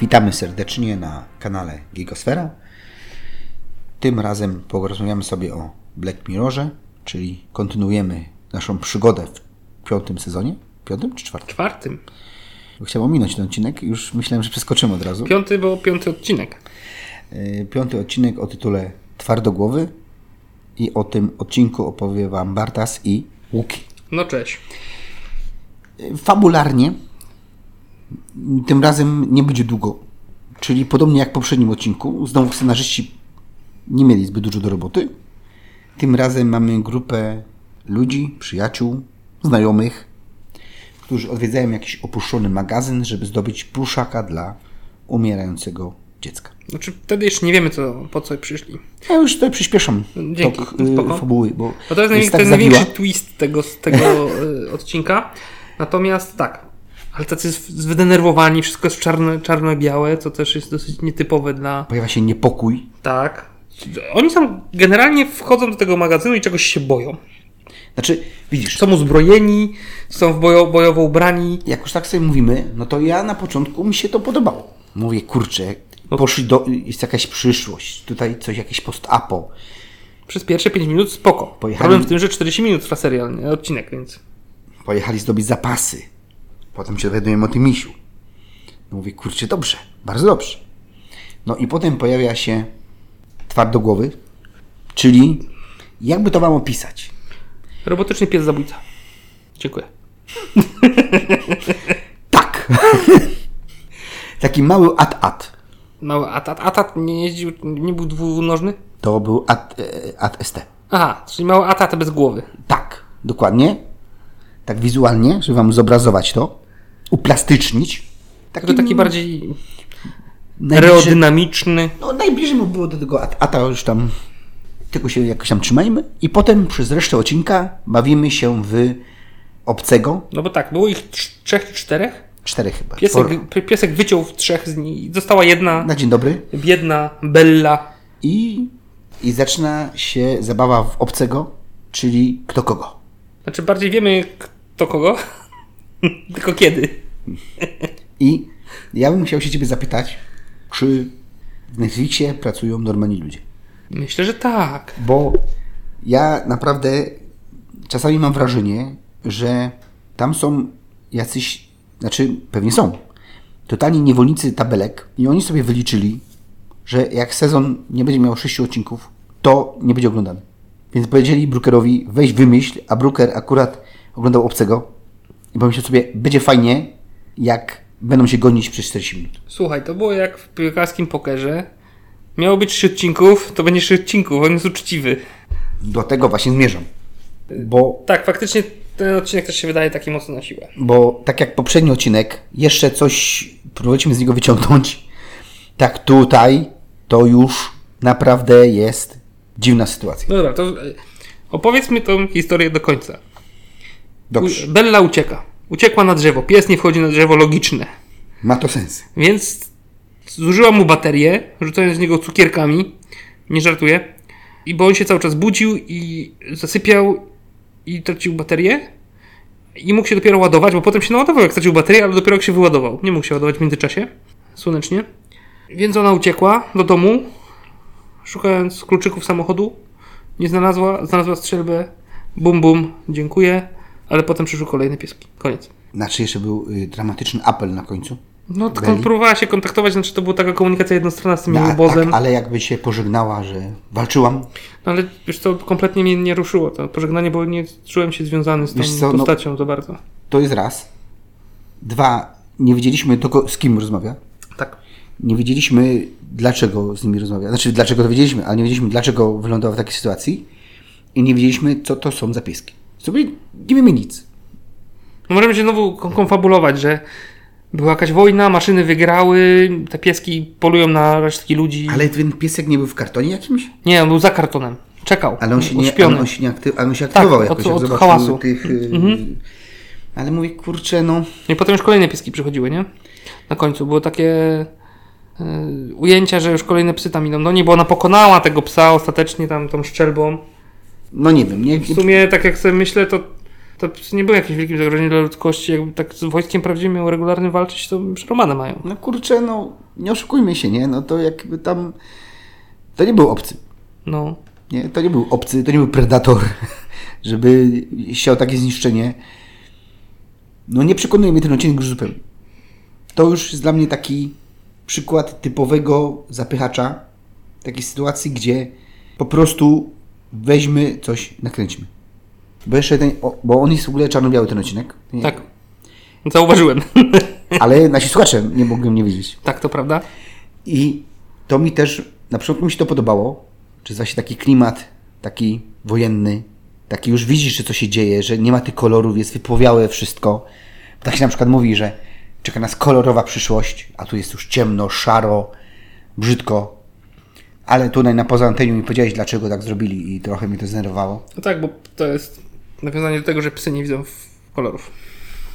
Witamy serdecznie na kanale Gigosfera. Tym razem porozmawiamy sobie o Black Mirrorze, czyli kontynuujemy naszą przygodę w piątym sezonie. Piątym czy czwartym? Czwartym. Bo Chciałem ominąć ten odcinek, już myślałem, że przeskoczymy od razu. Piąty, bo piąty odcinek. Y, Piąty odcinek o tytule Twardogłowy i o tym odcinku opowie Wam Bartas i Łuki. No cześć. Y, Fabularnie tym razem nie będzie długo, czyli podobnie jak w poprzednim odcinku, znowu scenarzyści nie mieli zbyt dużo do roboty. Tym razem mamy grupę ludzi, przyjaciół, znajomych, którzy odwiedzają jakiś opuszczony magazyn, żeby zdobyć pluszaka dla umierającego dziecka. Znaczy, wtedy jeszcze nie wiemy, co, po co przyszli. Ja już tutaj przyspieszam Dzięki, tok y, spoko. fabuły, bo No to jest, najwię- jest to tak jest zawiła. największy twist tego, z tego y, odcinka. Natomiast tak, ale tacy z- zdenerwowani, wszystko jest czarne- czarno-białe, co też jest dosyć nietypowe dla... Pojawia się niepokój. Tak. Oni są, generalnie wchodzą do tego magazynu i czegoś się boją. Znaczy, widzisz, Są uzbrojeni, są w bojo, bojowo ubrani. jak już tak sobie mówimy, no to ja na początku mi się to podobało. Mówię, kurczę, poszli do, jest jakaś przyszłość, tutaj coś, jakieś post-apo. Przez pierwsze 5 minut spoko. Pojechali- Problem w tym, że 40 minut trwa serial, nie? odcinek, więc... Pojechali zdobyć zapasy. Potem się dowiadujemy o tym misiu. No mówię, kurczę, dobrze, bardzo dobrze. No i potem pojawia się twardogłowy, czyli jakby to wam opisać? Robotyczny pies zabójca. Dziękuję. Tak! Taki mały at-at. Mały atat. Atat nie jeździł, nie był dwunożny? To był at, e, at ST. Aha, czyli mały atat bez głowy. Tak, dokładnie. Tak wizualnie, żeby wam zobrazować to, uplastycznić. Taki, To taki bardziej najbliżej, aerodynamiczny. no, najbliżej mu było do tego at- ata, już tam tylko się jakoś tam trzymajmy. I potem przez resztę odcinka bawimy się w obcego, No bo tak, było ich trz- trzech czy czterech. czterech chyba. Piesek, czworo. wy- piesek wyciął w trzech z nich. Została jedna Na dzień dobry. biedna Bella. I, I zaczyna się zabawa w obcego, czyli kto kogo. Znaczy bardziej wiemy kto kogo, tylko kiedy. I ja bym chciał się ciebie zapytać, czy w Netflixie pracują normalni ludzie? Myślę, że tak. bo ja naprawdę czasami mam wrażenie, że tam są jacyś, znaczy pewnie są, totalni niewolnicy tabelek i oni sobie wyliczyli, że jak sezon nie będzie miał 6 odcinków, to nie będzie oglądany. Więc powiedzieli Brookerowi, weź wymyśl, a Brooker akurat oglądał Obcego i pomyślał sobie, będzie fajnie, jak będą się gonić przez 40 minut. Słuchaj, to było jak w piłkarskim pokerze. Miało być trzy odcinków, to będzie trzy odcinków, on jest uczciwy. Do tego właśnie zmierzam. Bo Tak, faktycznie ten odcinek też się wydaje taki mocno na siłę. bo tak jak poprzedni odcinek, jeszcze coś próbowaliśmy z niego wyciągnąć. Tak tutaj to już naprawdę jest dziwna sytuacja. No dobra, to e, opowiedzmy tą historię do końca. Dobrze, U- Bella ucieka. Uciekła na drzewo. Pies nie wchodzi na drzewo, logiczne. ma to sens. Więc zużyła mu baterię, rzucając z niego cukierkami. Nie żartuję. I bo on się cały czas budził i zasypiał i tracił baterię. I mógł się dopiero ładować, bo potem się naładował, jak stracił baterię, ale dopiero jak się wyładował. Nie mógł się ładować w międzyczasie. Słonecznie. Więc ona uciekła do domu, szukając kluczyków samochodu. Nie znalazła, znalazła strzelbę. Bum, bum, dziękuję. Ale potem przyszły kolejne pieski. Koniec. Znaczy jeszcze był y, dramatyczny apel na końcu. No, tylko Byli? próbowała się kontaktować, znaczy to była taka komunikacja jednostronna z tym No, no, a- obozem. tak, ale jakby się pożegnała, że walczyłam. No, ale wiesz co, kompletnie mnie nie ruszyło to pożegnanie, bo nie czułem się związany z tą Wiesz co, no- postacią za bardzo. To jest raz. Dwa, nie wiedzieliśmy tylko z kim rozmawia. Tak. Nie wiedzieliśmy, dlaczego z nimi rozmawia. Znaczy, dlaczego to wiedzieliśmy, ale nie wiedzieliśmy, dlaczego wylądował w takiej sytuacji. I nie wiedzieliśmy, co to są za pieski. Sobie nie wiemy nic. No, możemy się znowu kon- konfabulować, że była jakaś wojna, maszyny wygrały, te pieski polują na resztki ludzi. Ale ten piesek nie był w kartonie jakimś? Nie, on był za kartonem. Czekał. Ale on się nie, uśpiony. Tak, ale on się nie akty, ale on się aktywował od- jakoś, jak od zobaczył hałasu. Mhm. tych... y, Ale mówię, kurczę, no... I potem już kolejne pieski przychodziły, nie? Na końcu było takie y, No, ujęcia, że już kolejne psy tam idą do niej, bo ona pokonała tego psa ostatecznie tam tą szczelbą. No nie wiem, nie, W sumie, tak jak sobie myślę, to, to nie było jakimś wielkim zagrożeniem dla ludzkości. Jakby tak z wojskiem prawdziwie miał regularnie walczyć, to już Romana mają. No kurczę, no nie oszukujmy się, nie? No to jakby tam. To nie był obcy. No. Nie? To nie był obcy, to nie był predator, żeby chciał takie zniszczenie. No nie przekonuje mnie ten odcinek już zupełnie. To już jest dla mnie taki przykład typowego zapychacza, takiej sytuacji, gdzie po prostu weźmy coś, nakręćmy. Bo jeszcze ten, o, bo on jest w ogóle czarno-biały ten odcinek. Nie- Tak. Zauważyłem. Ale nasi słuchacze nie mogą mnie wiedzieć. tak, to prawda? I to mi też, na początku mi się to podobało, czy jest właśnie taki klimat, taki wojenny, taki już widzisz, że co się dzieje, że nie ma tych kolorów, jest wypłowiałe wszystko. Tak się na przykład mówi, że czeka nas kolorowa przyszłość, a tu jest już ciemno, szaro, brzydko. Ale tutaj na poza anteniu mi powiedziałeś, dlaczego tak zrobili i trochę mnie to zdenerwowało. No tak, bo to jest nawiązanie do tego, że psy nie widzą w- kolorów.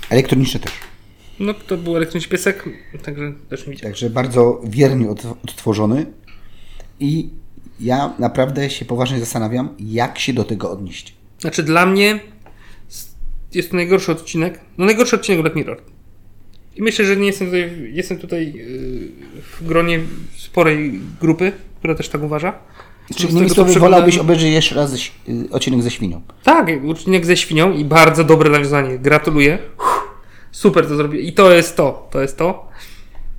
Elektroniczne też. No, to był elektryczny piesek, także też nie widziałem. Także bardzo wiernie od- odtworzony. I ja naprawdę się poważnie zastanawiam, jak się do tego odnieść. Znaczy, dla mnie s- jest to najgorszy odcinek. No, najgorszy odcinek Black Mirror. I myślę, że nie jestem tutaj, jestem tutaj yy, w gronie sporej grupy, która też tak uważa. Z Czy tego, innymi co słowy, przeglądałem- wolałbyś obejrzeć jeszcze raz ze, ś- y, odcinek ze świnią? Tak, uczynek ze świnią i bardzo dobre nawiązanie. Gratuluję. Uff, Super to zrobię. I to jest to, to jest to.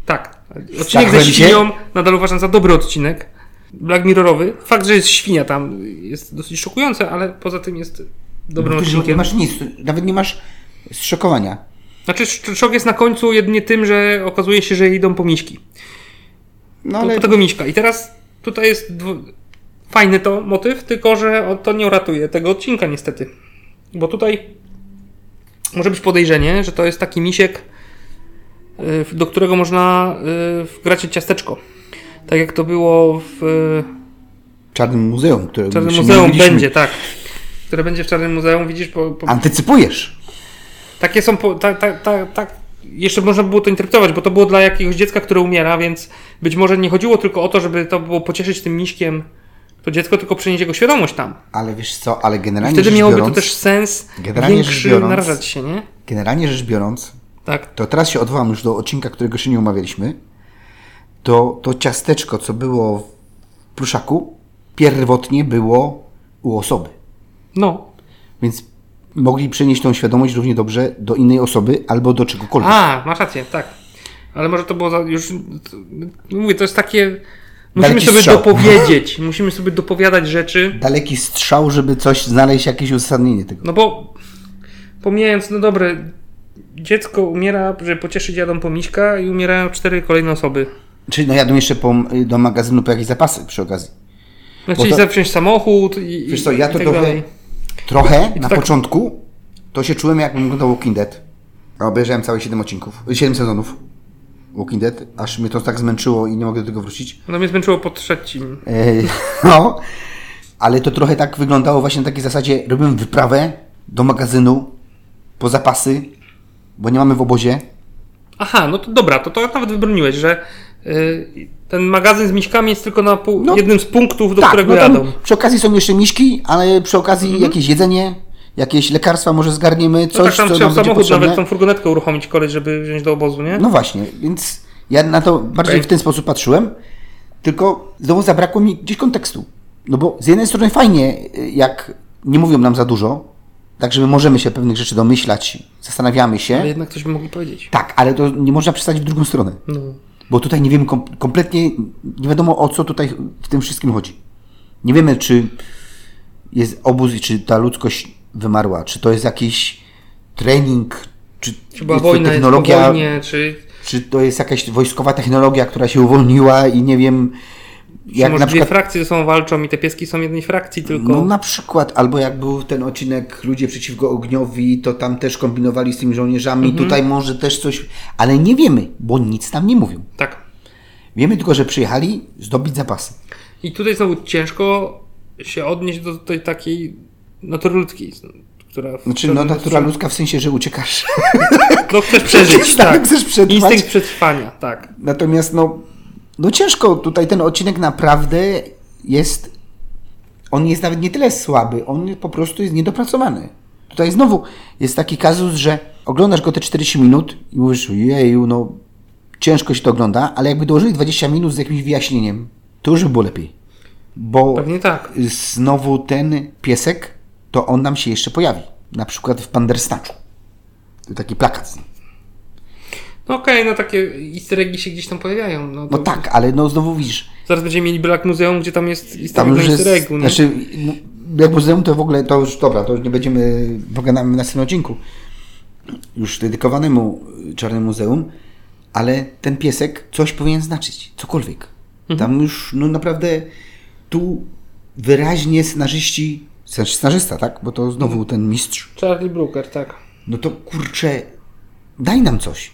Tak. Odcinek Tak, ze będzie? świnią nadal uważam za dobry odcinek. Black Mirrorowy. Fakt, że jest świnia tam jest dosyć szokujące, ale poza tym jest dobrym Ty No, nie odcinkiem. masz nic, nawet nie masz zszokowania. Znaczy sz- szok jest na końcu jedynie tym, że okazuje się, że idą po miśki. No Po, ale po tego miśka. I teraz tutaj jest dwu... fajny to motyw, tylko że o- to nie uratuje tego odcinka niestety. Bo tutaj może być podejrzenie, że to jest taki misiek, y, w- do którego można y, wgrać ciasteczko. Tak jak to było w y, w Czarnym Muzeum, które Czarnym już Muzeum mówiliśmy, będzie, tak. Które będzie w Czarnym Muzeum, widzisz, po, po, Antycypujesz. takie są. Po, tak, tak, tak, tak. Jeszcze można było to interpretować, bo to było dla jakiegoś dziecka, które umiera, więc być może nie chodziło tylko o to, żeby to było pocieszyć tym miśkiem to dziecko, tylko przenieść jego świadomość tam. Ale wiesz co, ale generalnie Wtedy rzecz miałoby biorąc, to też sens generalnie rzecz większy biorąc- narażać się, nie? Generalnie rzecz biorąc, Tak. to teraz się odwołam już do odcinka, którego się nie umawialiśmy. To, to ciasteczko, co było w pluszaku, pierwotnie było u osoby. No. Więc mogli przenieść tą świadomość równie dobrze do innej osoby albo do czegokolwiek. A, masz rację, tak. Ale może to było za, już. to- Mówię, to jest takie. Musimy Daleki sobie strzał. dopowiedzieć. Musimy sobie dopowiadać rzeczy. Daleki strzał, żeby coś znaleźć, jakieś uzasadnienie tego. No bo pomijając, no dobre, dziecko umiera, że pocieszyć jadą po miśka i umierają cztery kolejne osoby. Czyli no jadą jeszcze po, do magazynu po jakieś zapasy przy okazji. No chcieli to- zawziąć samochód i, Wiesz co, i, ja i to tak trochę, dalej. trochę na tak- początku to się czułem jakbym oglądał Walking Dead. A obejrzałem całe 7 odcinków, 7 sezonów Walking Dead, aż mnie to tak zmęczyło i nie mogę do tego wrócić. No mnie zmęczyło po trzecim. Ej, no, ale to trochę tak wyglądało właśnie na takiej zasadzie, robiłem wyprawę do magazynu po zapasy, bo nie mamy w obozie. Aha, no to dobra, to, to nawet wybroniłeś, że y, ten magazyn z miśkami jest tylko na pół, No. jednym z punktów, do którego tam jadą. No Mhm. Przy okazji są jeszcze miśki, ale przy okazji jakieś jedzenie, jakieś lekarstwa może zgarniemy, No coś, tak, tam co chciał nam będzie samochód potrzebne. nawet tą furgonetkę uruchomić koleś, żeby wziąć do obozu, nie? No właśnie, więc ja na to bardziej Okej. w ten sposób patrzyłem, tylko znowu zabrakło mi gdzieś kontekstu. No bo z jednej strony fajnie, y, jak nie mówią nam za dużo, tak żeby możemy się pewnych rzeczy domyślać, zastanawiamy się. Ale jednak coś by mogli powiedzieć. Tak, ale to nie można przestać w drugą stronę, No. bo tutaj nie wiemy kom- kompletnie, nie wiadomo o co tutaj w tym wszystkim chodzi. Nie wiemy, czy jest obóz i czy ta ludzkość wymarła, czy to jest jakiś trening, czy Chyba jest to wojna jest po wojnie, czy czy to jest jakaś wojskowa technologia, która się uwolniła i nie wiem, jak może na dwie przykład. frakcje ze sobą walczą i te pieski są jednej frakcji tylko. No na przykład, albo jak był ten odcinek Ludzie przeciwko ogniowi, to tam też kombinowali z tymi żołnierzami, Mhm. tutaj może też coś, ale nie wiemy, bo nic nam nie mówią. Tak. Wiemy tylko, że przyjechali zdobyć zapasy. I tutaj znowu ciężko się odnieść do tej takiej natury ludzkiej, która... w- Znaczy, no natura ludzka w sensie, że uciekasz. No chcesz przeżyć, Chcesz, tak, tak. chcesz przetrwać. Instynkt przetrwania, tak. Natomiast no, no ciężko, tutaj ten odcinek naprawdę jest on jest nawet nie tyle słaby, on po prostu jest niedopracowany. Tutaj znowu jest taki kazus, że oglądasz go te 40 minut i mówisz, jeju, no ciężko się to ogląda, ale jakby dołożyli 20 minut z jakimś wyjaśnieniem, to już by było lepiej. Bo Pewnie tak. znowu ten piesek, to on nam się jeszcze pojawi. Na przykład w Pandersnaczu. To taki plakat z nim. No okej, no takie easter eggi się gdzieś tam pojawiają. No, to No tak, ale no znowu widzisz, Zaraz będziemy mieli brak muzeum, gdzie tam jest easter tam egg już na jest, easter eggu, nie? znaczy, jak muzeum to w ogóle, to już, dobra, to już nie będziemy, pogadamy na następnym odcinku, już dedykowanemu y, Czarnemu Muzeum, ale ten piesek coś powinien znaczyć, cokolwiek. Tam już, no naprawdę, tu wyraźnie scenarzyści, znaczy scenarzysta, tak, bo to znowu ten mistrz, Charlie Brooker, tak. no to kurczę, daj nam coś.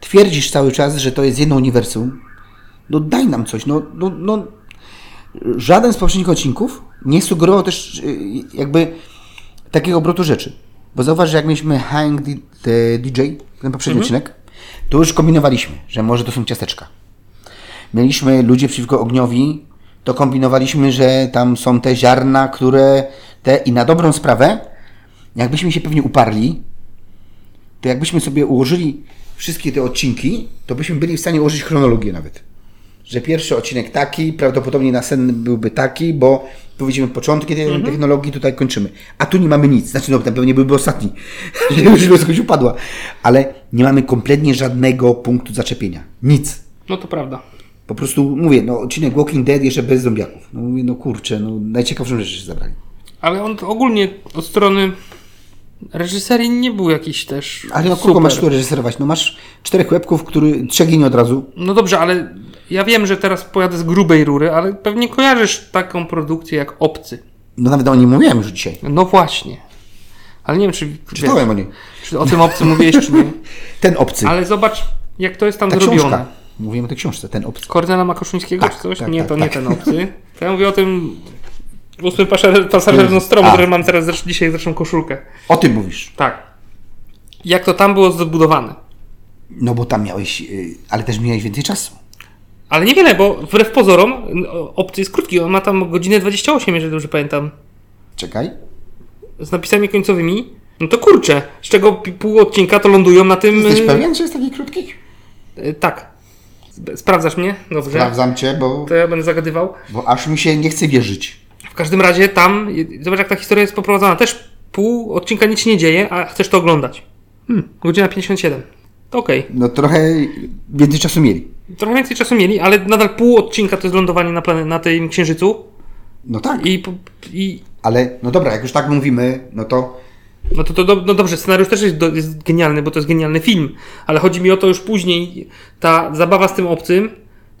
Twierdzisz cały czas, że to jest jedno uniwersum. No daj nam coś. No, no, no. Żaden z poprzednich odcinków nie sugerował też y, jakby takiego obrotu rzeczy. Bo zauważ, że jak mieliśmy Hang D- the DJ, ten poprzedni odcinek, to już kombinowaliśmy, że może to są ciasteczka. Mieliśmy Ludzie przeciwko ogniowi, to kombinowaliśmy, że tam są te ziarna, które te i na dobrą sprawę, jakbyśmy się pewnie uparli, to jakbyśmy sobie ułożyli wszystkie te odcinki, to byśmy byli w stanie ułożyć chronologię nawet. Że pierwszy odcinek taki, prawdopodobnie następny byłby taki, bo tu widzimy początki tej technologii, tutaj kończymy. A tu nie mamy nic. Znaczy, no, tam pewnie byłby ostatni, że już ludzkość upadła. Ale nie mamy kompletnie żadnego punktu zaczepienia. Nic. No to prawda. Po prostu mówię, no odcinek Walking Dead jeszcze bez zombiaków. No mówię, no kurczę, no najciekawszą rzecz się zabrali. Ale on ogólnie od strony reżyserii nie był jakiś też Ale no kogo super. masz tu reżyserować? No masz czterech łebków, który trzech ginie od razu. No dobrze, ale ja wiem, że teraz pojadę z grubej rury, ale pewnie kojarzysz taką produkcję jak Obcy. No nawet o nim mówiłem już dzisiaj. No właśnie. Ale nie wiem, czy, Czytałem o niej. czy o tym Obcym mówiłeś, czy nie. Ten obcy. Ale zobacz, jak to jest tam Ta zrobione. książka. Mówimy o tej książce, ten obcy. Kornela Makoszyńskiego Tak, czy coś? tak, nie, tak, to nie tak. ten obcy. To ja mówię o tym ósmym pasażer, pasażer Nostromo, A. który mam teraz zresztą, dzisiaj zresztą koszulkę. O tym mówisz. Tak. Jak to tam było zbudowane. No bo tam miałeś, y, ale też miałeś więcej czasu. Ale niewiele, bo wbrew pozorom no, obcy jest krótki. On ma tam godzinę 28, jeżeli dobrze pamiętam. Czekaj. Z napisami końcowymi. No to kurczę, z czego pi- pół odcinka to lądują na tym... Jesteś y, pewien, że jest taki krótki? y, Tak. Sp- Sprawdzasz mnie? Dobrze. Sprawdzam cię, bo, To ja będę zagadywał. bo aż mi się nie chce wierzyć. W każdym razie tam, y, zobacz jak ta historia jest poprowadzona. Też pół odcinka nic się nie dzieje, a chcesz to oglądać. Hmm, godzina 57. To okej. No trochę więcej czasu mieli. Trochę więcej czasu mieli, ale nadal pół odcinka to jest lądowanie na, plane- na tym księżycu. No tak, I, po- i ale no dobra, jak już tak mówimy, no to no to, to do, no dobrze, scenariusz też jest, do, jest genialny, bo to jest genialny film. Ale chodzi mi o to już później. Ta zabawa z tym obcym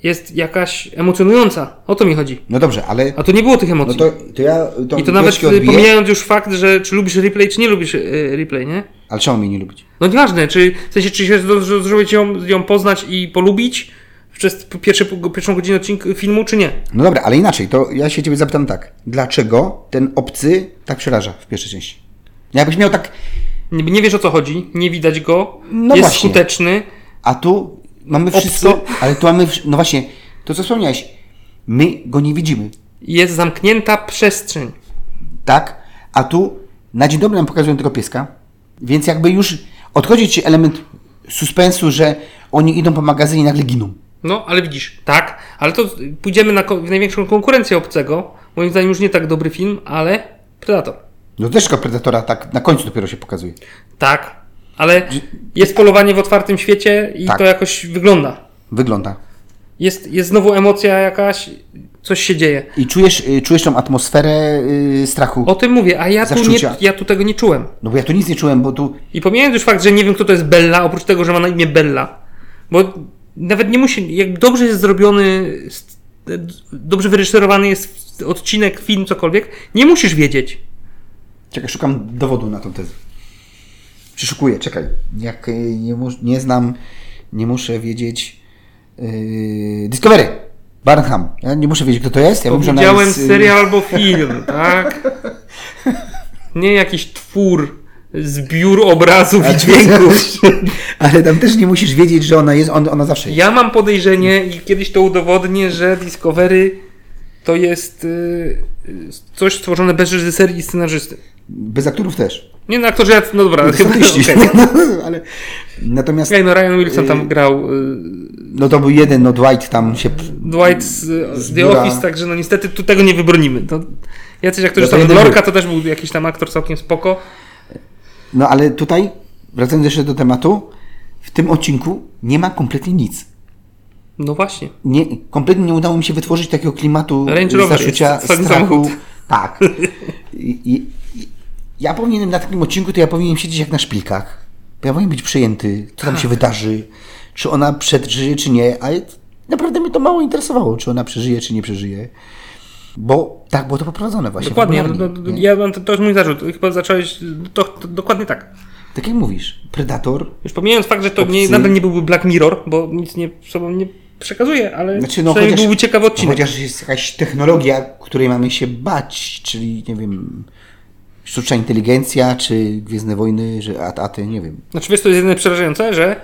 jest jakaś emocjonująca. O to mi chodzi. no dobrze, ale A tu nie było tych no emocji. to, to ja to I to nawet piłeczki odbiję, pomijając już fakt, że czy lubisz replay, czy nie lubisz e, replay, nie? ale czemu mnie nie lubić? No nieważne, czy w sensie, czy się zdążyło ją, ją poznać i polubić przez pierwsze, pierwszą godzinę odcinka filmu, czy nie? No dobra, ale inaczej, to ja się ciebie zapytam tak. Dlaczego ten obcy tak przeraża w pierwszej części? Jakbyś miał tak, Nie, nie wiesz o co chodzi, nie widać go, No jest właśnie. skuteczny. a tu mamy Obcy. wszystko, ale tu mamy, wsz- no właśnie, to co wspomniałeś, my go nie widzimy, Jest zamknięta przestrzeń. tak? A tu na dzień dobry nam pokazują tego pieska, więc jakby już odchodzi ci element suspensu, że oni idą po magazynie i nagle giną. No, ale widzisz, tak, ale to pójdziemy na ko- w największą konkurencję obcego. Moim zdaniem już nie tak dobry film, ale Predator. No też tego Predatora tak na końcu dopiero się pokazuje. Tak, ale jest polowanie w otwartym świecie i Tak. to jakoś wygląda. Wygląda. Jest, jest znowu emocja jakaś, coś się dzieje. I czujesz, y, czujesz tą atmosferę y, strachu. O tym mówię, a ja tu, nie, Zaszczucia. ja tu tego nie czułem. No bo ja tu nic nie czułem, bo tu I pomijając już fakt, że nie wiem, kto to jest Bella, oprócz tego, że ma na imię Bella. Bo nawet nie musi, jak dobrze jest zrobiony, st- dobrze wyreżyserowany jest odcinek, film, cokolwiek, nie musisz wiedzieć. Czekaj, szukam dowodu na tą tezę. Przeszukuję, czekaj. Jak y, nie, mus- nie znam, nie muszę wiedzieć. Yy, Discovery! Barnham. Ja nie muszę wiedzieć, kto to jest. Ja wiem, że ona Widziałem jest, y, serial albo film, tak? Nie jakiś twór, zbiór obrazów i ale- dźwięków. Ale tam też nie musisz wiedzieć, że ona jest. On, ona zawsze jest. Ja mam podejrzenie i kiedyś to udowodnię, że Discovery to jest y, y, coś stworzone bez reżyserii i scenarzysty. Bez aktorów też. Nie, no aktorzy, jacy- no dobra, chyba Statyści. No, okej. Ale natomiast, Okej, no Ryan Wilson tam grał, y, no to był jeden, no Dwight tam się... Dwight z, z The biura. Office, także no niestety tu tego nie wybronimy. To, jacyś aktorzy No to tam, jeden Lorca był. to też był jakiś tam aktor całkiem spoko. No ale tutaj, wracając jeszcze do tematu, w tym odcinku nie ma kompletnie nic. No właśnie. Nie, kompletnie nie udało mi się wytworzyć takiego klimatu Range y, Rover zarzucia jest twoim strachu. samochód. Tak. I, i, i- ja powinienem na takim odcinku, to ja powinienem siedzieć jak na szpilkach. Ja powinien być przejęty, co tam się wydarzy, czy ona przeżyje, czy nie, ale naprawdę mnie to mało interesowało, czy ona przeżyje, czy nie przeżyje. Bo tak było to poprowadzone właśnie. Dokładnie. fabularnie, No, no, nie? ja mam, to, to jest mój zarzut. Chyba zacząłeś, to, to, dokładnie tak. Tak jak mówisz, Predator, Już pomijając fakt, że to nie, Obcy. nadal nie byłby Black Mirror, bo nic nie sobą nie przekazuje, ale Znaczy, no, przynajmniej chociaż, byłby ciekawy odcinek. Chociaż jest jakaś technologia, której mamy się bać, czyli nie wiem, sztuczna inteligencja, czy Gwiezdne Wojny, że at, aty, nie wiem. Znaczy wiesz, to jest jedyne przerażające, że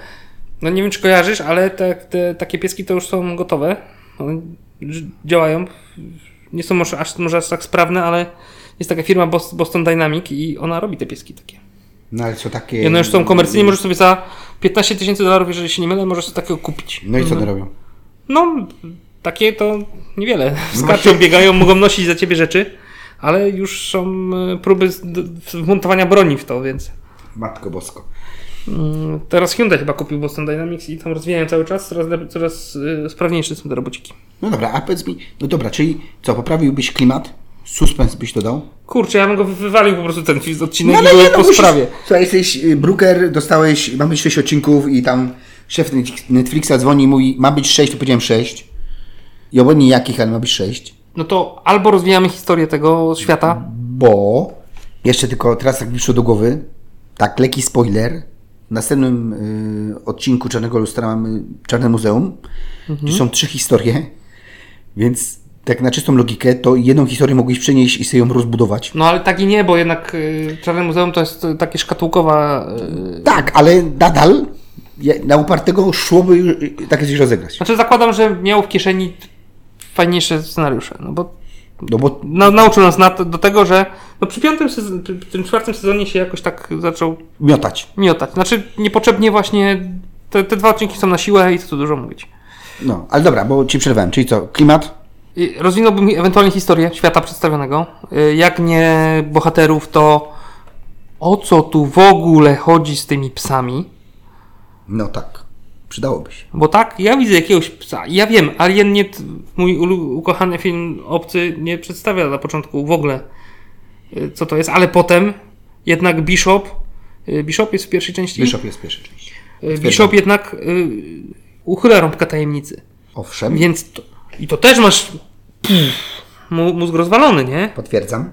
no nie wiem czy kojarzysz, ale te, te, takie pieski to już są gotowe. One ż- działają. Nie są może aż, może aż tak sprawne, ale jest taka firma Bos- Boston Dynamic i ona robi te pieski takie. No ale co takie... I one już są komercyjnie, możesz sobie za 15 tysięcy dolarów, jeżeli się nie mylę, możesz sobie takiego kupić. No i co Mhm. one robią? No, takie to niewiele. Skaczą, No właśnie. biegają, mogą nosić za ciebie rzeczy, ale już są e, próby z- d- wmontowania broni w to, więc. Matko Bosko. Mm, Teraz Hyundai chyba kupił Boston Dynamics i tam rozwijają cały czas, coraz, lep- coraz y, sprawniejsze są te robociki. No dobra, a powiedz mi, no dobra, czyli co, poprawiłbyś klimat? Suspens byś dodał? Kurczę, ja bym go wy- wywalił po prostu ten film z odcinek No i ale go nie, no po musisz... sprawie. Słuchaj, jesteś y, Brooker, dostałeś, mamy być 6 odcinków i tam szef Net- Netflixa dzwoni i mówi, ma być 6, to powiedziałem 6. I obojętnie jakich, ale ma być 6. No to albo rozwijamy historię tego świata. bo jeszcze tylko teraz tak mi przyszło do głowy, tak leki spoiler, w następnym y, odcinku Czarnego Lustra mamy Czarne Muzeum, gdzie są trzy historie, więc tak na czystą logikę, to jedną historię mogłeś przenieść i sobie ją rozbudować. No ale tak i nie, bo jednak y, Czarne Muzeum to jest y, takie szkatułkowa... Y, Tak, ale nadal ja- na upartego szłoby y, takie coś rozegrać. znaczy zakładam, że miał w kieszeni fajniejsze scenariusze, no bo No bo na, nauczył nas na to, do tego, że no przy piątym sezon, przy, przy tym czwartym sezonie się jakoś tak zaczął miotać. miotać. Znaczy niepotrzebnie właśnie te, te dwa odcinki są na siłę i co tu dużo mówić. No, ale dobra, bo ci przerwałem. Czyli co, klimat? I Rozwinąłbym ewentualnie historię świata przedstawionego. Y, Jak nie bohaterów, to o co tu w ogóle chodzi z tymi psami? No tak, przydałoby się. Bo tak, ja widzę jakiegoś psa. Ja wiem, Alien nie, mój ulu- ukochany film obcy nie przedstawia na początku w ogóle, y, co to jest, ale potem jednak Bishop, y, Bishop jest w pierwszej części. Bishop jest pierwszy części. Y, Bishop jednak y, uchyla rąbka tajemnicy. Owszem, Więc to, i to też masz pff, mu- mózg rozwalony, nie? potwierdzam.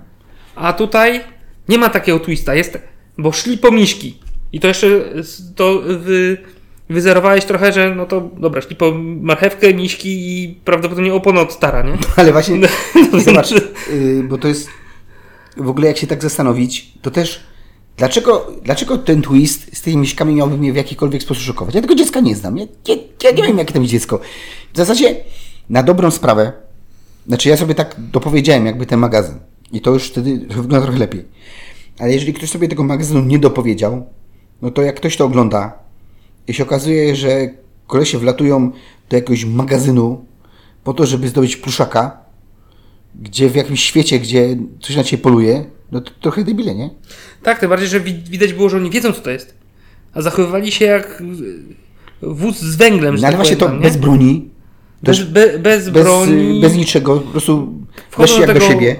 A tutaj nie ma takiego twista, jest, bo szli po miśki. I to jeszcze s- to wy, wyzerowałeś trochę, że no to dobra, szli po marchewkę, miśki i prawdopodobnie opona od stara, nie? Ale właśnie, zobacz, znaczy- y, bo to jest, w ogóle jak się tak zastanowić, to też, dlaczego, dlaczego ten twist z tymi miśkami miałby mnie w jakikolwiek sposób szokować? Ja tego dziecka nie znam, ja, ja, ja nie wiem jakie tam jest dziecko. W zasadzie, na dobrą sprawę, znaczy ja sobie tak dopowiedziałem jakby ten magazyn i to już wtedy wygląda trochę lepiej. Ale jeżeli ktoś sobie tego magazynu nie dopowiedział, no to jak ktoś to ogląda i się okazuje, że kolesie wlatują do jakiegoś magazynu po to, żeby zdobyć pluszaka, gdzie w jakimś świecie, gdzie coś na ciebie poluje, no to trochę debile, nie? Tak, tym bardziej, że wi- widać było, że oni wiedzą, co to jest. A zachowywali się jak y, wóz z węglem. że No ale tak właśnie to powiem, tam, nie? bez broni, bez, be, bez bez, broni. bez niczego, po prostu weź Wchodzą do jak do tego- siebie.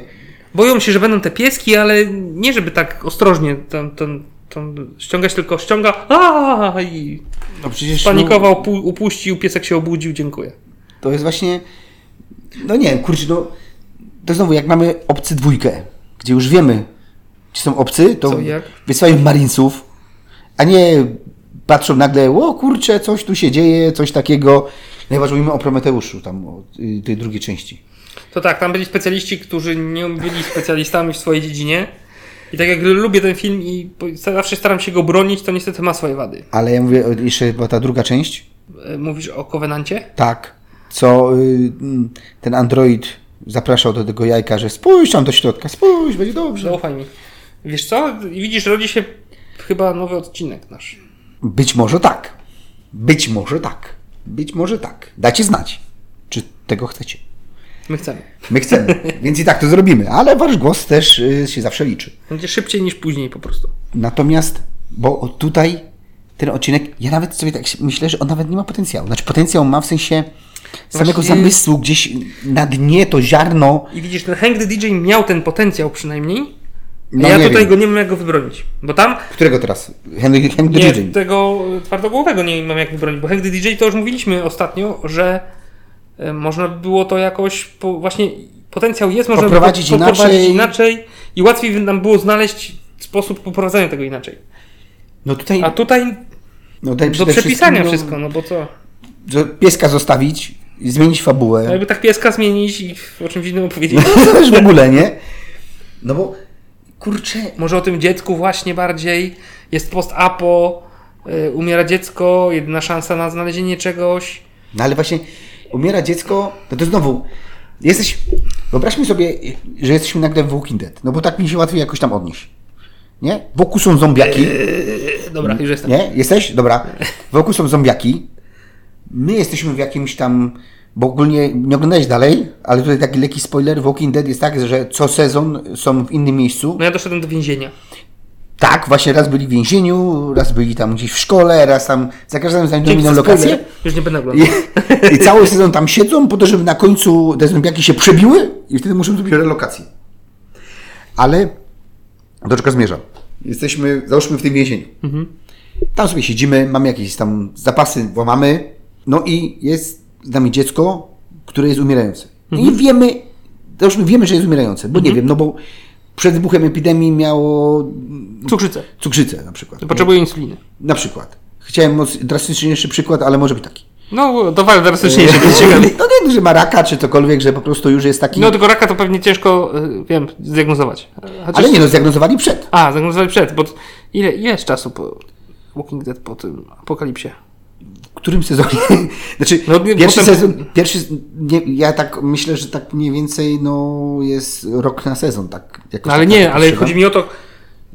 Boją się, że będą te pieski, ale nie żeby tak ostrożnie tam, tam, tam ściągać, tylko ściąga aaa, i No przecież panikował, pu- upuścił, piesek się obudził, dziękuję. No, to jest właśnie, no nie wiem, kurczę, no to znowu jak mamy obcy dwójkę, gdzie już wiemy, czy są obcy, to Co i jak? wysyłają marinesów, a nie patrzą nagle, o kurczę, coś tu się dzieje, coś takiego. No Najważniejsze mówimy o Prometeuszu, tam, o y, tej drugiej części. To tak, tam byli specjaliści, którzy nie byli specjalistami w swojej dziedzinie. I tak jak lubię ten film i po- zawsze staram się go bronić, to niestety ma swoje wady. Ale ja mówię, o, jeszcze była ta druga część, E, Mówisz o Covenancie? Tak. Co y, mm, ten android zapraszał do tego jajka, że spójrz tam do środka, spójrz, będzie dobrze. Zaufaj mi. Wiesz co? Widzisz, rodzi się chyba nowy odcinek nasz. Być może tak. Być może tak. Być może tak. Dacie znać, czy tego chcecie. My chcemy. My chcemy, więc i tak to zrobimy, ale wasz głos też y, się zawsze liczy. Będzie szybciej niż później po prostu. Natomiast, bo od tutaj ten odcinek, ja nawet sobie tak myślę, że on nawet nie ma potencjału. Znaczy potencjał ma w sensie samego Właśnie- zamysłu, gdzieś na dnie to ziarno. I widzisz, ten Hangry DJ miał ten potencjał przynajmniej. No ja nie tutaj wiem. go nie mam jak go wybronić. Bo tam Którego teraz? Henry, Henry nie, Virgin. tego twardogłowego nie mam jak wybronić. Bo Hangry DJ to już mówiliśmy ostatnio, że e, można by było to jakoś po, właśnie potencjał jest, można by Poprowadzić po- poprowadzić inaczej. inaczej i łatwiej by nam było znaleźć sposób poprowadzenia tego inaczej. No tutaj, A tutaj no tutaj do przede przepisania wszystkim, wszystko, no bo co? no, że Pieska zostawić, zmienić fabułę. Jakby tak pieska zmienić i o czymś innym opowiedzieć. No to też w ogóle, nie? No bo, kurczę, Może o tym dziecku właśnie bardziej. Jest post-apo, y, umiera dziecko, jedyna szansa na znalezienie czegoś. No ale właśnie umiera dziecko, no to znowu jesteś. Wyobraźmy sobie, że jesteśmy nagle w Walking Dead, no bo tak mi się łatwiej jakoś tam odnieść. Nie? Wokół są zombiaki. Yy, Dobra, już jestem. Nie? Jesteś? Dobra. Wokół są zombiaki. My jesteśmy w jakimś tam. Bo ogólnie nie oglądałeś dalej, ale tutaj taki lekki spoiler. Walking Dead jest tak, że co sezon są w innym miejscu. No ja doszedłem do więzienia. Tak, właśnie raz byli w więzieniu, raz byli tam gdzieś w szkole, raz tam. Za każdym razem znajdą Dzięki inną za lokację. spoiler. Już nie będę I, oglądał. I cały sezon tam siedzą, po to, żeby na końcu te zombiaki się przebiły i wtedy muszą zrobić relokację. Ale do czego zmierzam? Jesteśmy, załóżmy w tym więzieniu. Mhm. Tam sobie siedzimy, mamy jakieś tam zapasy, łamamy. No i jest z nami dziecko, które jest umierające. No Mhm. I wiemy, załóżmy, wiemy, że jest umierające, bo nie wiem, no bo przed wybuchem epidemii miało Cukrzycę. cukrzycę na przykład. Potrzebuję insuliny. Na przykład. Chciałem moc- drastyczniejszy przykład, ale może być taki. No, dowal drastyczniejszy, to jest ciekawe. No nie, że ma raka czy cokolwiek, że po prostu już jest taki. No tylko raka to pewnie ciężko, y, wiem, zdiagnozować. Chociaż... ale nie, no zdiagnozowali przed. A, zdiagnozowali przed, bo t- ile, ile jest czasu po Walking Dead po tym apokalipsie? W którym sezonie? znaczy, No, nie, pierwszy potem- sezon, pierwszy, nie, ja tak myślę, że tak mniej więcej, no jest rok na sezon, tak. jakoś No ale tak tak nie, ale patrzyłem. chodzi mi o to,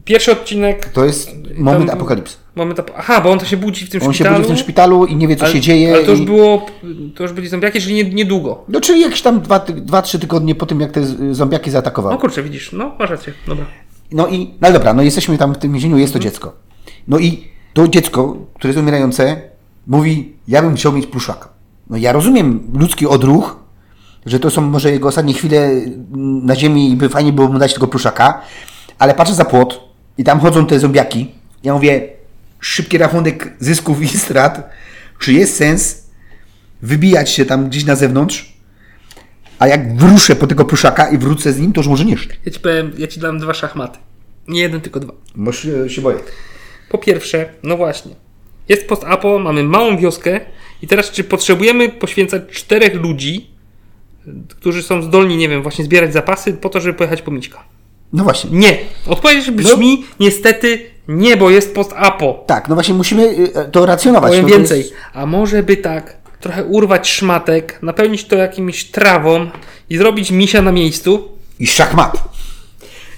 pierwszy odcinek To jest moment Tam- apokalipsy. Moment ap- Aha, bo on to się budzi w tym On się szpitalu. budzi w tym szpitalu i nie wie, co ale, się dzieje. Ale to już i... było, to już byli zombiaki, czyli nie, niedługo. No czyli jakieś tam dwa, ty- dwa, trzy tygodnie po tym, jak te z- zombiaki No zaatakowały. kurczę, widzisz, no masz rację, dobra. No i, no ale dobra, no jesteśmy tam w tym więzieniu, jest to dziecko. No i to dziecko, które jest umierające, mówi, ja bym chciał mieć pluszaka. No ja rozumiem ludzki odruch, że to są może jego ostatnie chwile mm, na ziemi i by fajnie było mu dać tego pluszaka, ale patrzę za płot i tam chodzą te zombiaki. Ja mówię, szybki rachunek zysków i strat, czy jest sens wybijać się tam gdzieś na zewnątrz, a jak wrószę po tego pluszaka i wrócę z nim, to już może nie szli. Ja ci powiem, ja ci dam dwa szachmaty. Nie jeden, tylko dwa. Bo się, się boję. Po pierwsze, no właśnie, jest post-apo, mamy małą wioskę i teraz czy potrzebujemy poświęcać czterech ludzi, którzy są zdolni, nie wiem, właśnie zbierać zapasy po to, żeby pojechać po Mićka? No właśnie. Nie. No. Odpowiedź brzmi, niestety, nie, bo jest post-apo. Tak, no właśnie musimy y, to racjonować. Powiem no to więcej, Jest... a może by tak trochę urwać szmatek, napełnić to jakimiś trawą i zrobić misia na miejscu. I szachmat.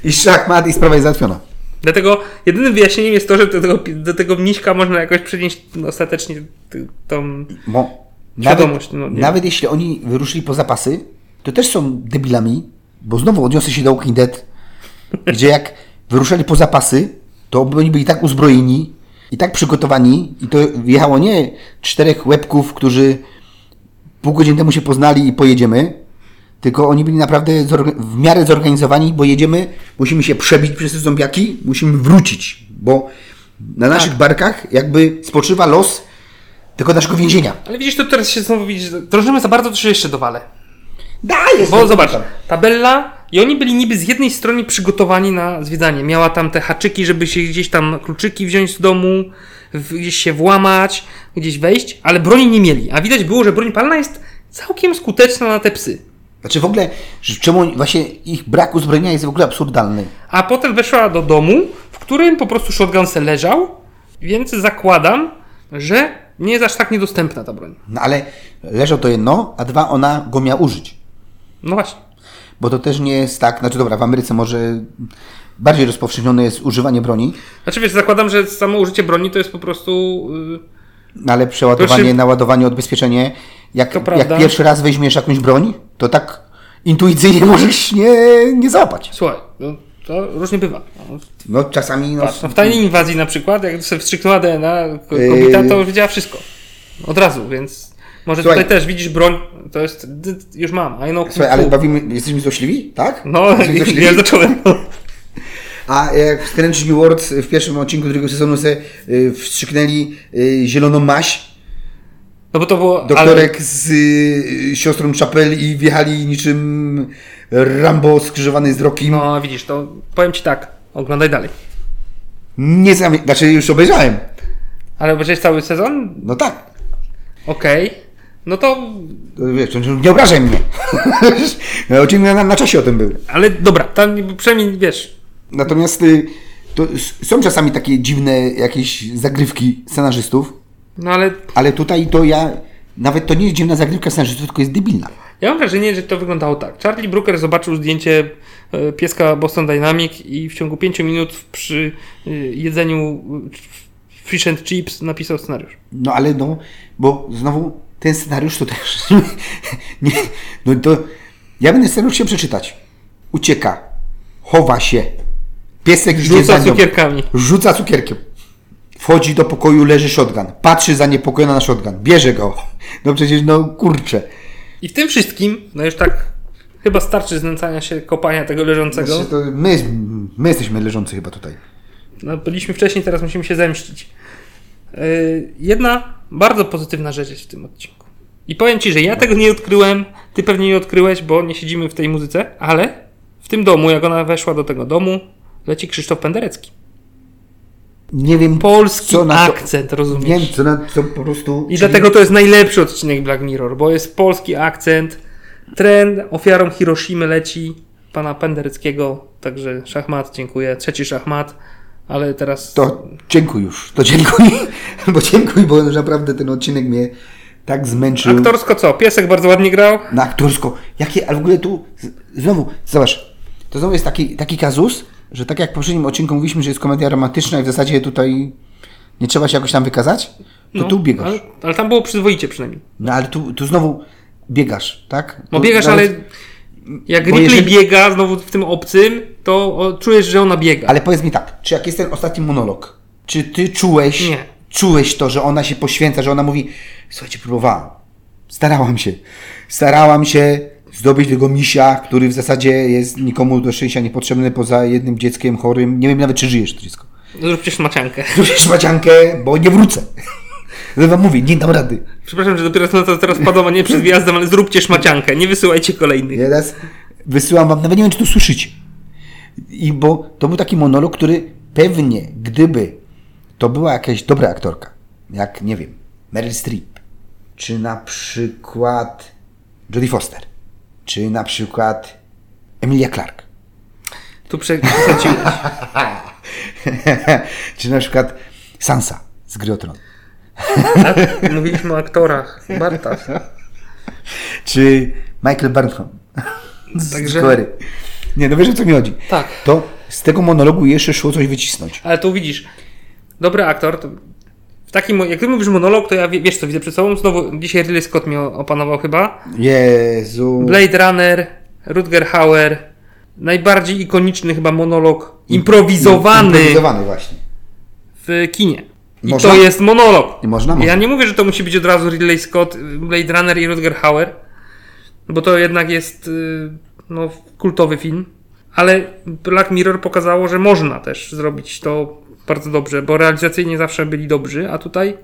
I szachmat i sprawa jest załatwiona. Dlatego jedynym wyjaśnieniem jest to, że do tego, do tego miśka można jakoś przynieść ostatecznie ty- tą... Bo Świadomość, nawet, no, nie. nawet jeśli oni wyruszyli po zapasy, to też są debilami, bo znowu odniosę się do Walking Dead, gdzie jak wyruszali po zapasy, to oni byli tak uzbrojeni i tak przygotowani i to wjechało nie czterech łebków, którzy pół godziny temu się poznali i pojedziemy, tylko oni byli naprawdę zorga- w miarę zorganizowani, bo jedziemy, musimy się przebić przez te zombiaki, musimy wrócić, bo na naszych Tak. barkach jakby spoczywa los tego naszego więzienia. Ale widzisz, to teraz się znowu widzisz, drążymy za bardzo, to się jeszcze dowalę. Dalej! Bo zobacz, tabella i oni byli niby z jednej strony przygotowani na zwiedzanie. Miała tam te haczyki, żeby się gdzieś tam kluczyki wziąć z domu, w, gdzieś się włamać, gdzieś wejść, ale broni nie mieli. A widać było, że broń palna jest całkiem skuteczna na te psy. Znaczy w ogóle, że czemu oni- właśnie ich brak uzbrojenia jest w ogóle absurdalny. A potem weszła do domu, w którym po prostu shotgun se leżał, więc zakładam, że nie jest aż tak niedostępna ta broń. No ale leżał to jedno, a dwa ona go miała użyć. No właśnie. Bo to też nie jest tak, znaczy dobra, w Ameryce może bardziej rozpowszechnione jest używanie broni, Znaczy wiesz, zakładam, że samo użycie broni to jest po prostu... y, no ale przeładowanie, Proszę- naładowanie, odbezpieczenie, jak, Znaczy- To prawda. jak pierwszy raz weźmiesz jakąś broń, to tak intuicyjnie możesz nie, nie załapać. Słuchaj, no, to różnie bywa. No, No czasami... No, Patrz, no w tajnej inwazji na przykład, jak sobie wstrzyknęła DNA ko- Yy. kobieta, to już wiedziała wszystko. Od razu, więc może Słuchaj. tutaj też widzisz broń, to jest, d- d- już mam, I know kung Słuchaj, ale fu. bawimy, jesteśmy złośliwi, tak? No, Jesteśmy złośliwi? ja zacząłem. A jak w Strange New Worlds w pierwszym odcinku drugiego sezonu se y, wstrzyknęli y, zieloną maś, No bo to było... doktorek z y, siostrą Chapel i wjechali niczym Rambo skrzyżowany z Rokim. Ale, no widzisz, to powiem ci tak, oglądaj dalej. Nie znam, znaczy już obejrzałem. Ale obejrzałeś cały sezon? No tak. Okej. No to... To Wiesz, to nie obrażaj mnie. no, o czym ja na, na czasie o tym był. Ale dobra, tam przynajmniej, wiesz, Natomiast y, to s- są czasami takie dziwne jakieś zagrywki scenarzystów, no ale ale tutaj to ja, nawet to nie jest dziwna zagrywka scenarzystów, tylko jest debilna. Ja mam wrażenie, że to wyglądało tak. Charlie Brooker zobaczył zdjęcie e, pieska Boston Dynamic i w ciągu 5 minut w- przy e, jedzeniu e, fish and chips napisał scenariusz. No ale no, bo znowu ten scenariusz to też. nie, no to. Ja będę scenariusz się przeczytać. Ucieka, chowa się. Piesek już nie za Rzuca nią. cukierkami. Rzuca cukierkiem. Wchodzi do pokoju, leży shotgun. Patrzy zaniepokojona na shotgun. Bierze go. No przecież, no kurczę. I w tym wszystkim, no już tak chyba starczy znęcania się, kopania tego leżącego. Znaczy, to my, my jesteśmy leżący chyba tutaj. No, byliśmy wcześniej, teraz musimy się zemścić. E, Jedna bardzo pozytywna rzecz jest w tym odcinku. I powiem Ci, że ja tego nie odkryłem, Ty pewnie nie odkryłeś, bo nie siedzimy w tej muzyce, ale w tym domu, jak ona weszła do tego domu, leci Krzysztof Penderecki. Nie wiem, Polski Co na to- akcent, nie rozumiesz? wiem co na co po prostu. I dlatego to jest najlepszy odcinek Black Mirror, bo jest polski akcent, trend, ofiarą Hiroshimy leci pana Pendereckiego, także szachmat, dziękuję, trzeci szachmat, ale teraz... To dziękuję już, to dziękuję, bo dziękuję, bo naprawdę ten odcinek mnie tak zmęczył. Aktorsko co? Piesek bardzo ładnie grał. Na aktorsko. Jakie, ale w ogóle tu, z- znowu, zobacz, to znowu jest taki, taki kazus, że tak jak w poprzednim odcinku mówiliśmy, że jest komedia romantyczna i w zasadzie tutaj nie trzeba się jakoś tam wykazać, to tu biegasz. No, Ale, ale tam było przyzwoicie przynajmniej. No ale tu, tu znowu biegasz, tak? No Tu biegasz, ale nawet- jak bo Ripley jeżeli- biega znowu w tym obcym, to o, czujesz, że ona biega. Ale powiedz mi tak, czy jak jest ten ostatni monolog, czy ty czułeś, Nie. czułeś to, że ona się poświęca, że ona mówi, słuchajcie, próbowałam, starałam się, starałam się zdobyć tego misia, który w zasadzie jest nikomu do szczęścia niepotrzebny poza jednym dzieckiem chorym, nie wiem nawet, czy żyjesz to dziecko. Zróbcie szmaciankę. Zrobisz maciankę, bo nie wrócę. No wam mówię, nie dam rady. Przepraszam, że dopiero na to teraz padłam, a nie przed wjazdem, ale zróbcie szmaciankę, nie wysyłajcie kolejnych. Teraz wysyłam wam, nawet nie wiem, czy to słyszycie. I bo to był taki monolog, który pewnie, gdyby to była jakaś dobra aktorka, jak, nie wiem, Meryl Streep, czy na przykład Jodie Foster, czy na przykład Emilia Clarke, Tu prze- przesadziłeś. czy na przykład Sansa z Gry o Tron, Tak? Mówiliśmy o aktorach. Bartas. czy Michael Burnham z Także- Także... Goery. Nie, no wiesz, o co mi chodzi. Tak. To z tego monologu jeszcze szło coś wycisnąć. Ale tu widzisz, dobry aktor, to w takim, mo- jak ty mówisz monolog, to ja wie- wiesz co widzę przed sobą, znowu dzisiaj Ridley Scott mnie o- opanował chyba. Jezu. Blade Runner, Rutger Hauer, najbardziej ikoniczny chyba monolog improwizowany Improwizowany właśnie. w kinie. I Można? to jest monolog. I można, można. Ja nie mówię, że to musi być od razu Ridley Scott, Blade Runner i Rutger Hauer, bo to jednak jest y, no, kultowy film, ale Black Mirror pokazało, że można też zrobić to bardzo dobrze, bo realizacyjnie zawsze byli dobrzy, a tutaj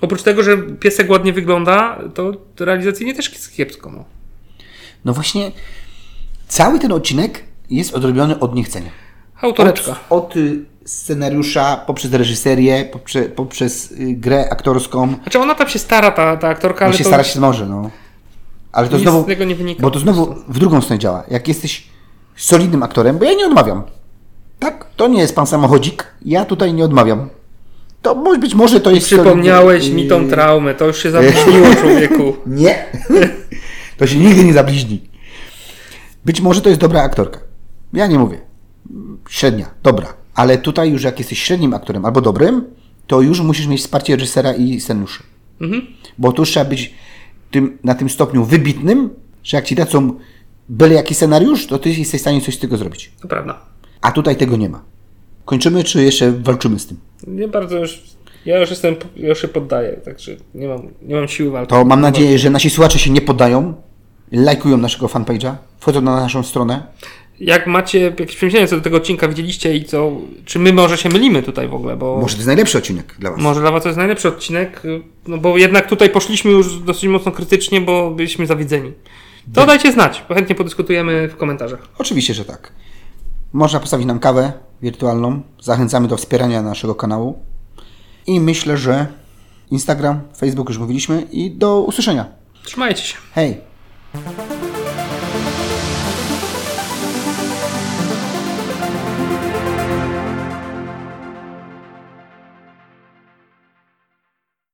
oprócz tego, że piesek ładnie wygląda, to realizacyjnie też jest kiepsko. No. No właśnie, cały ten odcinek jest odrobiony od niechcenia. Autoreczka. Od, od y, scenariusza, poprzez reżyserię, poprze, poprzez y, grę aktorską. Znaczy ona tam się stara, ta, ta aktorka, No ale się to starać się może, no. Ale to nic znowu, z tego nie wynika. bo to znowu w drugą stronę działa. Jak jesteś solidnym aktorem, bo ja nie odmawiam. Tak? To nie jest pan samochodzik. Ja tutaj nie odmawiam. To może być może to jest... Przypomniałeś solidny- y, mi tą traumę, to już się zabrzmiło człowieku. Nie. To się nigdy nie zabliźni. Być może to jest dobra aktorka. Ja nie mówię. Średnia, dobra. Ale tutaj już jak jesteś średnim aktorem albo dobrym, to już musisz mieć wsparcie reżysera i scenariuszy. Bo tu już trzeba być tym, na tym stopniu wybitnym, że jak ci dadzą byle jaki scenariusz, to ty jesteś w stanie coś z tego zrobić. To prawda. A tutaj tego nie ma. Kończymy, czy jeszcze walczymy z tym? Nie bardzo już. Ja już jestem, ja już się poddaję, także nie mam, nie mam siły walki. To mam nadzieję, że nasi słuchacze się nie poddają, lajkują naszego fanpage'a, wchodzą na naszą stronę. Jak macie jakieś przemyślenia co do tego odcinka, widzieliście i co, czy my może się mylimy tutaj w ogóle, bo może, Może to jest najlepszy odcinek dla Was. dla was to jest najlepszy odcinek, y, no bo jednak tutaj poszliśmy już dosyć mocno krytycznie, bo byliśmy zawiedzeni. To dajcie znać, bo chętnie podyskutujemy w komentarzach. Oczywiście, że tak. Można postawić nam kawę wirtualną. Zachęcamy do wspierania naszego kanału. I myślę, że Instagram, Facebook już mówiliśmy i do usłyszenia. Trzymajcie się. Hej!